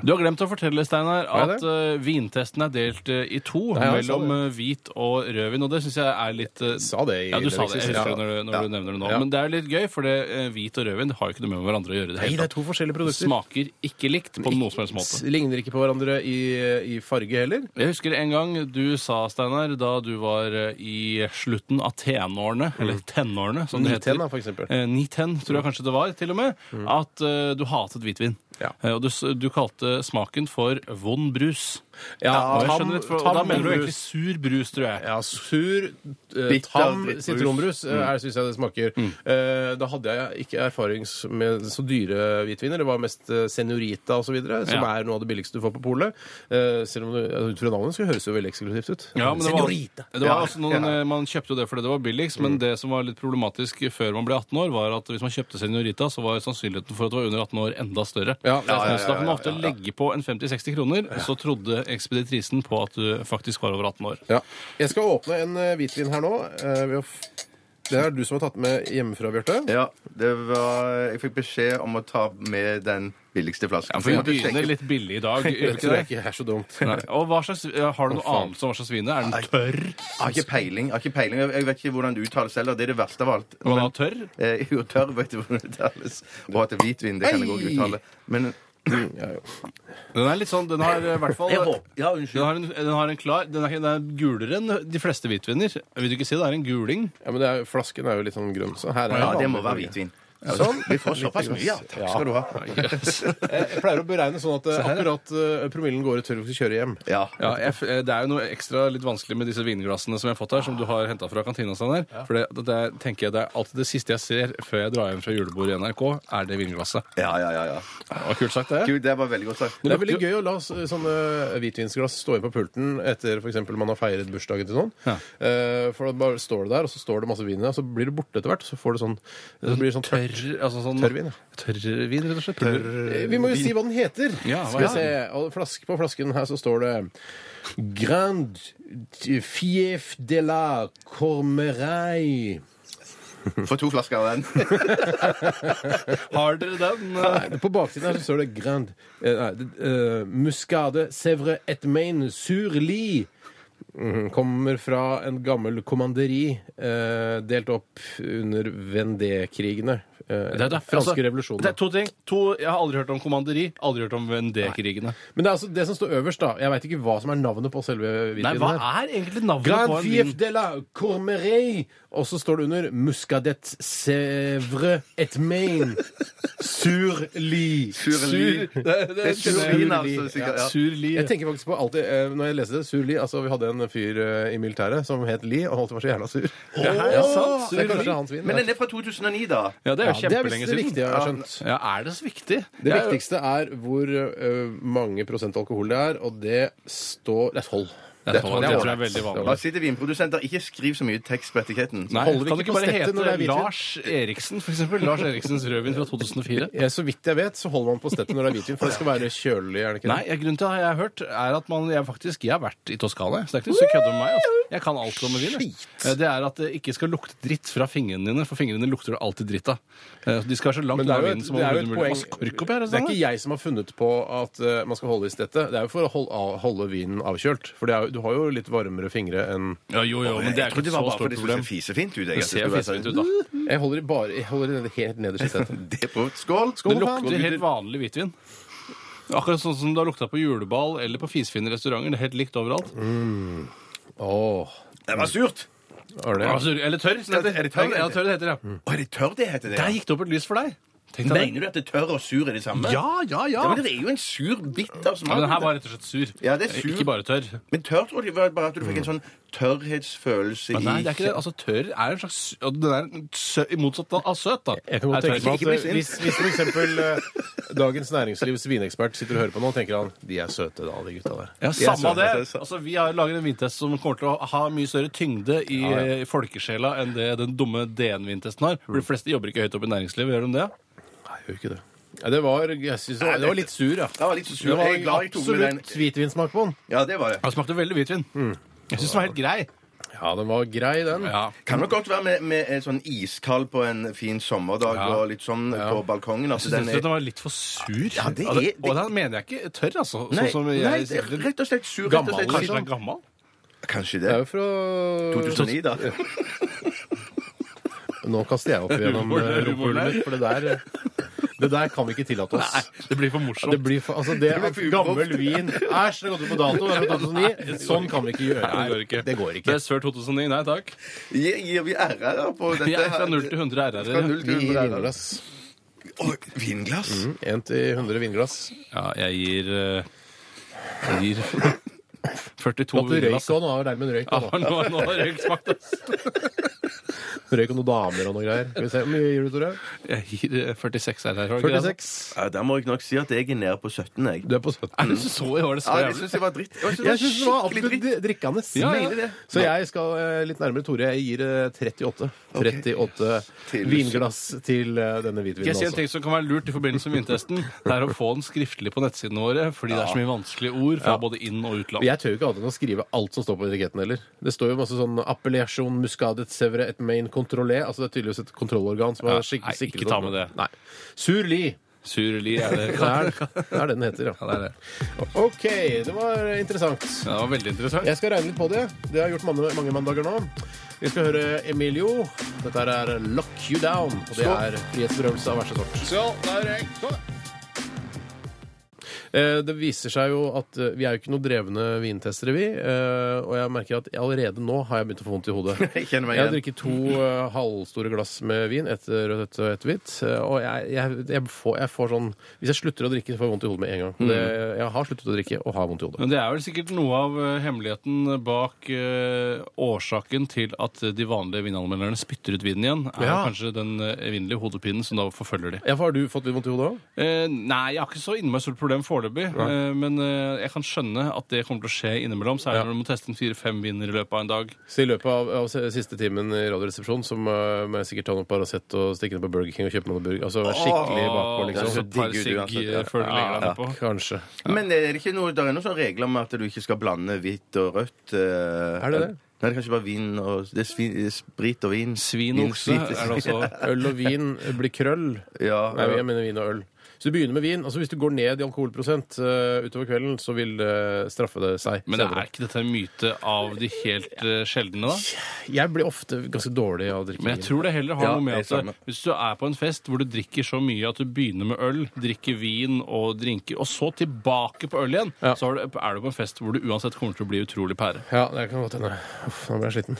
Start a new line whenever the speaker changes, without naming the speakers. Du har glemt å fortelle, Steinar,
Har jeg
at eh, vintesten er delt eh, i to
Ja, jeg sa
mellom eh, hvit og rødvin, og det syns jeg er litt eh,
Sa det i
Ja, du sa det.
Leveksist,
Jeg
ja.
husker det når, du, når
Ja.
du nevner det nå.
Ja.
Men det er litt gøy, for det, eh, hvit og rødvin har jo ikke noe med hverandre å gjøre. i
Nei,
hele
det er
tatt.
to forskjellige
Det
produkter.
Smaker ikke likt på noen som helst måte.
Ligner ikke på hverandre i, i farge heller.
Jeg husker en gang du sa, Steinar, da du var eh, i slutten av tenårene, eller
Mm.
tenårene som det heter.
Nitenna, for eksempel. Mm.
Eh, 910, tror jeg kanskje det var, til og med, at eh, du hatet hvitvin.
Ja.
Eh, og du, s- du kalte smaken for vond brus.
Ja,
og jeg
tam-
skjønner litt, for,
tam
og da mener du
brus.
egentlig sur brus, tror jeg.
Ja, sur, eh,
Bitter
tam
drittbrus.
sitronbrus mm. er syns jeg det smaker.
Mm.
Eh, da hadde jeg ikke erfaring s- med så dyre hvitviner. Det var mest eh, Senorita osv., som
Ja.
er noe av det billigste du får på polet. Eh, selv om det, altså, ut fra navnet så høres det jo veldig eksklusivt ut.
Ja, men det var,
Senorita.
det var
Ja,
også noen,
ja. Mm.
eh, Man kjøpte jo det fordi det var billigst, men det som var litt problematisk før man ble 18 år, var at hvis man kjøpte Senorita, så var sannsynligheten for at det var under 18 år, enda større.
Ja, det er sant.
Så da kan man ofte legge på en 50-60 kroner, så trodde ekspeditrisen på at du faktisk var over 18 år.
Ja. Jeg skal åpne en eh, hvitvin her nå. eh, ved å f det er du som har tatt med hjemmefra, Bjarte.
Ja, det var, jeg fikk beskjed om å ta med den billigste flasken.
Ja, for vi begynner litt billig i dag. gjør
Det
vi
tror jeg
Ikke det?
ikke er så dumt.
Nei. Og hva slags, Har du noe
faen.
anelse om hva slags vin det er? Er den tørr?
Jeg har ikke peiling. Jeg, har ikke peiling. Jeg, jeg vet ikke hvordan det uttales heller. Det er det verste av alt.
Var
Men-
den tørr?
Eh, jo, tørr vet du hvordan det uttales. Og at det er hvitvin, det kan jeg òg
Ei!
uttale. Men
Den er litt sånn, den har i hvert fall
Ja,
den
unnskyld.
har, en, den har en klar Den er, den er gulere enn de fleste hvitviner. Vil du ikke si det er en guling?
Ja, men det er, flasken er jo litt sånn grønn, så her er
Ja,
en
det må
vanlig
være
farge.
hvitvin. Sånn. Vi får såpass mye, ja. Takk skal du ha.
Jeg pleier å beregne sånn at eh, akkurat eh, promillen går ut før vi skal kjøre hjem.
Ja.
Ja, jeg, f- eh, Det er jo noe ekstra litt vanskelig med disse vinglassene som jeg har fått her, som du har henta fra kantina. Steinar. For det, det, det tenker jeg det er alltid det siste jeg ser før jeg drar hjem fra julebordet i NRK, er det vinglasset.
Ja, ja, ja, ja.
Det var kult sagt, det.
Gud, det var veldig godt sagt.
Men det er veldig gøy å la s- sånne hvitvinsglass stå inn på pulten etter for eksempel man har feiret bursdagen til noen.
Ja.
Eh, For da bare står det der, og så står det masse vin i det, og så blir det borte etter hvert. Så får det sånn, så blir det sånn
Tørr, altså sånn,
Tørrvin, ja.
Tørrvin, rett og slett.
Eh, Vi må jo si hva den heter.
Ja, hva
Skal vi
er
se. Og flaske på flasken her så står det Grand Fief de la Cormeray.
Få to flasker av den.
Har dere den? eh?
Nei, På baksiden her så står det Grand eh, nei, det- eh, Muscade Sevre et Main Surli. Mhm, Kommer fra en gammel kommanderi eh, delt opp under Vendée-krigene. Eh,
Det er- det er-
franske
altså,
revolusjonen.
Det er to ting. To, jeg har aldri hørt om kommanderi, aldri hørt om Vendée-krigene.
Men det er altså det som står øverst, da. Jeg veit ikke hva som er navnet på selve
Nei,
hvitvinen.
hva
her.
er egentlig navnet
Grand
på en
Fief
vin?
de la Cormeray. Og så står det under Muscadet Sevre et Main Surli.
Surli.
Sur, det, det,
Det er survin, altså. Sikkert. Ja.
sur li.
Jeg tenker faktisk på alltid, eh, når jeg leser det, Sur Li altså Vi hadde en fyr eh, i militæret som het Li, og han alltid var så jævla sur.
ja, sant,
det er
Sur Li.
kanskje hans vin.
Men
det
den er fra 2009, da.
Ja, det er jo
ja, det er
kjempelenge
visst det
siden.
viktige, jeg har skjønt.
Ja, er det så viktig?
Det
Jeg-
viktigste er hvor eh, mange prosent alkohol det er, og det står Det er tolv.
Det, tror jeg- det tror jeg
Det er
er
ålreit.
veldig
Bare
vanlig.
sitter vinprodusenter, ikke skriv så mye tekst på etiketten.
Nei,
Holder vi
kan det
ikke
ikke
på
bare
stette når det er
hete
hvitvin?
Lars Eriksen, for eksempel? Lars Eriksens rødvin fra 2004?
Ja, så vidt jeg vet, så holder man på steppet når det er hvitvin, for det skal være kjølig. er det ikke det?
Nei, jeg, grunnen til at jeg har hørt, er at man, jeg faktisk jeg har vært i Toskana. Så det er ikke så kødd med meg. Altså. Jeg kan alt om vin. jeg. Eh, Det er at det ikke skal lukte dritt fra fingrene dine, for fingrene lukter det alltid dritt av. Eh, så De skal være så langt
Men det
unna
er jo
vinen
et,
som
det er jo
overhodet
et
mulig.
poeng
Masse kork oppi her,
Det er ikke
Steinar.
jeg som har funnet på at eh, man skal holde i stettet. Det er jo for å holde, holde vinen avkjølt. For det er, jo- du har jo litt varmere fingre enn
Ja, jo, jo, men det
Jeg
er ikke
trodde
et
det var
så
bare fordi
stort
det skulle
problem.
se fisefint ut. jeg,
Det
at
ser
skulle være
fisefint
sånn-
ut, da.
Jeg holder i bare, jeg holder i ned- helt nederst i stettet.
Det er på Skål!
Det
Skål, faen.
lukter helt vanlig hvitvin. Akkurat sånn som det har lukta på juleball eller på fisefine restauranter. Det er helt likt overalt.
Åh,
Det var surt!
er det?
Altså, eller tørr, som det heter.
Er det tørr det
ja,
heter?
tørr det heter, ja.
Å, er det tørr det heter? det?
Der gikk det opp et lys for deg. Tenk deg det.
Mener du at det tørr og sur er det samme?
Ja, ja, ja.
Ja, men det er jo en sur, bitter
Ja,
smak.
men den her var rett og slett sur.
Ja, det er sur.
Ikke bare tørr.
Men tørr tror jeg var bare at du fikk en sånn tørrhetsfølelse
Men nei, det er ikke
i
det. Altså, tørr er en slags og Den er en sø, i motsatt av søt, da.
Jeg kan godt
Er
tenke meg
tørr.
Ikke bli
at eh,
sint.
hvis, hvis for eksempel eh, Dagens Næringslivs vinekspert sitter og hører på nå, tenker han de er søte, da, de gutta der.
ja, Samme
Jeg
det!
er søt,
Altså, Vi har laget en vintest som kommer til å ha mye større tyngde i eh, folkesjela enn det den dumme DN-vintesten har.
Mm.
For De fleste jobber ikke høyt opp i næringslivet, gjør de det?
Nei, gjør ikke det. Ja, det var, jeg synes, det var- det var litt sur, ja.
Det var litt så sur.
Det var
Jeg er glad jeg tok med den.
absolutt hvitvinsmak på den.
Ja, det var det. Mm.
Det smakte veldig hvitvin. Jeg syns den var helt grei.
Ja, den var grei, den.
Ja.
Kan nok godt være med, med en sånn iskald på en fin sommerdag
Ja.
og litt sånn på balkongen. at
Jeg
den
syns
er...
den var litt for sur.
Ja, det er-
Og
det-
og da mener jeg ikke tørr, altså.
Nei,
sånn som jeg
nei, det
sier
er
det.
rett og slett sur.
Gammel,
rett og
Kanskje den
slett,
er gammel?
sånn,
Det
kanskje det.
er jo fra
2009, da.
Nå kaster jeg opp gjennom eh,
Rullebordene,
rumpehullet mitt, for det der, eh, det der kan vi ikke tillate oss.
Nei, det blir for
Det
morsomt.
blir for, altså det
blir
at
for uproft.
gammel vin Æsj, det har gått ut på dato. Det er fra 2009. Sånn kan vi ikke gjøre.
Nei, det går ikke.
Det går ikke.
Best før 2009. Nei takk.
Gir, gir vi ære da, på dette?
Vi er fra
her?
0 til 100
Fra
RR-ere.
null
Vi
til
gir
100 ære.
vinglass.
Oi, vinglass?
Mm.
Én til 100 vinglass.
Ja, jeg gir eh, Jeg gir 42
At du røyk
vinglass.
og nå er det nærmere røyk.
Ja,
da, da.
nå, nå har jeg smakt, ass.
Røyk og noen damer og noe greier. Skal vi se, Hvor mye gir du, Tore?
Jeg gir eh, 46 RR. har jeg ikke det, altså?
46.
Ja, der må jeg nok si at jeg er nede på 17, jeg.
Du er på 70.
Er det Mm. så i år? Det så
Ja, jeg
jævlig.
syns det var dritt. Jeg synes
Jeg syns det var
skikkelig
absolutt
dritt.
drikkende.
Ja,
Mener det.
Så jeg skal eh, litt nærmere Tore. Jeg gir eh, 38. 38
Til-
vinglass til eh, denne
Skal jeg si
hvitvinen
en ting
også.
som kan være lurt i forbindelse med vintesten? Det er å få den skriftlig på nettsidene våre, fordi det er så mye vanskelige ord fra både inn- og utland.
Jeg tør jo ikke annet enn å skrive alt som står på etiketten heller. Det står jo masse sånn appellasjon, muscadet, sevre, et main controlé. Altså det er tydeligvis et kontrollorgan som
Ja,
har skik-
nei,
sikret
ikke ta
opp-
med det.
Nei. Surli.
Surli er det.
Det er, det er det den heter,
Ja,
ja.
det er det.
OK, det var interessant.
Ja, Det var veldig interessant.
Jeg skal regne litt på det. Det har jeg gjort mange, mange mandager nå. Vi skal høre Emilio. Dette her er 'Lock You Down'. Og det
Skål.
er frihetsberøvelse av verste sort.
Skål, da er det- Skål.
Eh, Det viser seg jo at eh, vi er jo ikke noen drevne vintestere, vi. eh, Og jeg merker at allerede nå har jeg begynt å få vondt i hodet.
Jeg kjenner meg
Jeg har
igjen.
drukket to eh, halvstore glass med vin, ett rødt og ett hvitt. eh, Og jeg, jeg, jeg, får, jeg får sånn Hvis jeg slutter å drikke, så får jeg vondt i hodet med en
Mm.
gang. Det, jeg har sluttet å drikke og har vondt i hodet.
Men det er vel sikkert noe av eh, hemmeligheten bak eh, årsaken til at de vanlige vinanmelderne spytter ut vinen igjen, er
Ja.
kanskje den eh, evinnelige hodepinen som da forfølger de.
Ja, for Har du fått vondt i hodet òg?
Eh, nei, jeg har ikke så innmari stort problem foreløpig. Eh, men eh, jeg kan skjønne at det kommer til å skje innimellom. Særlig
Ja.
når du må teste en fire-fem viner i løpet av en dag.
Så i løpet av, av se- siste timen i Radioresepsjonen så må jeg- må jeg sikkert ta noe Paracet og stikke ned på Burger King og kjøpe noe burger. Altså være skikkelig bakpå,
Og så
liksom.
det
et par
digg ut
sigg
uansett,
eh,
ja.
før du legger deg
Ja,
nedpå.
kanskje.
Men eh, er det ikke noe, der er noen sånne regler om at du ikke skal blande hvitt og rødt? eh,
Er det det?
Nei, det kan ikke være vin og det er svin, det er Sprit og vin.
Svin og okse
Vinsvin.
er det også.
Øl og vin blir krøll.
Ja,
Nei, jeg mener vin og øl. Så du begynner med vin. altså Hvis du går ned i alkoholprosent eh, utover kvelden, så vil det straffe det seg.
Men
senere.
er ikke dette en myte av de helt eh, sjeldne, da?
Jeg blir ofte ganske dårlig av å drikke
Men jeg
vin.
tror det heller har
Ja,
noe med at
jeg er sammen.
hvis du er på en fest hvor du drikker så mye at du begynner med øl, drikker vin og drinker, og så tilbake på øl igjen,
Ja.
så er du er du på en fest hvor du uansett kommer til å bli utrolig pære.
Ja, det kan godt hende. Uff, nå ble jeg sliten.